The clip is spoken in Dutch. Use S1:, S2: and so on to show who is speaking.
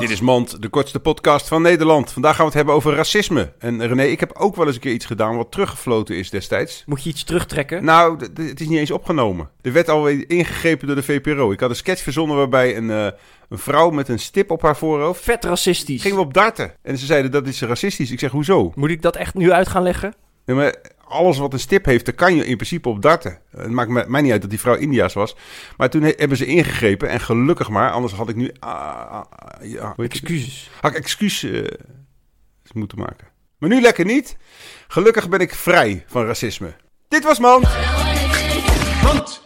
S1: Dit is Mand, de kortste podcast van Nederland. Vandaag gaan we het hebben over racisme. En René, ik heb ook wel eens een keer iets gedaan wat teruggefloten is destijds.
S2: Moet je iets terugtrekken?
S1: Nou, d- d- het is niet eens opgenomen. Er werd alweer ingegrepen door de VPRO. Ik had een sketch verzonnen waarbij een, eh, een vrouw met een stip op haar voorhoofd...
S2: Vet racistisch.
S1: gingen we op darten. En ze zeiden dat is racistisch. Ik zeg, hoezo?
S2: Moet ik dat echt nu uit gaan leggen?
S1: Nee, maar alles wat een stip heeft, daar kan je in principe op darten. Het maakt me- mij niet uit dat die vrouw India's was. Maar toen he- hebben ze ingegrepen en gelukkig maar, anders had ik nu... ah, ah, ah, ja, hoe heet het?
S2: Excuses.
S1: had ik excuus eh, moeten maken. Maar nu lekker niet. Gelukkig ben ik vrij van racisme. Dit was Mand.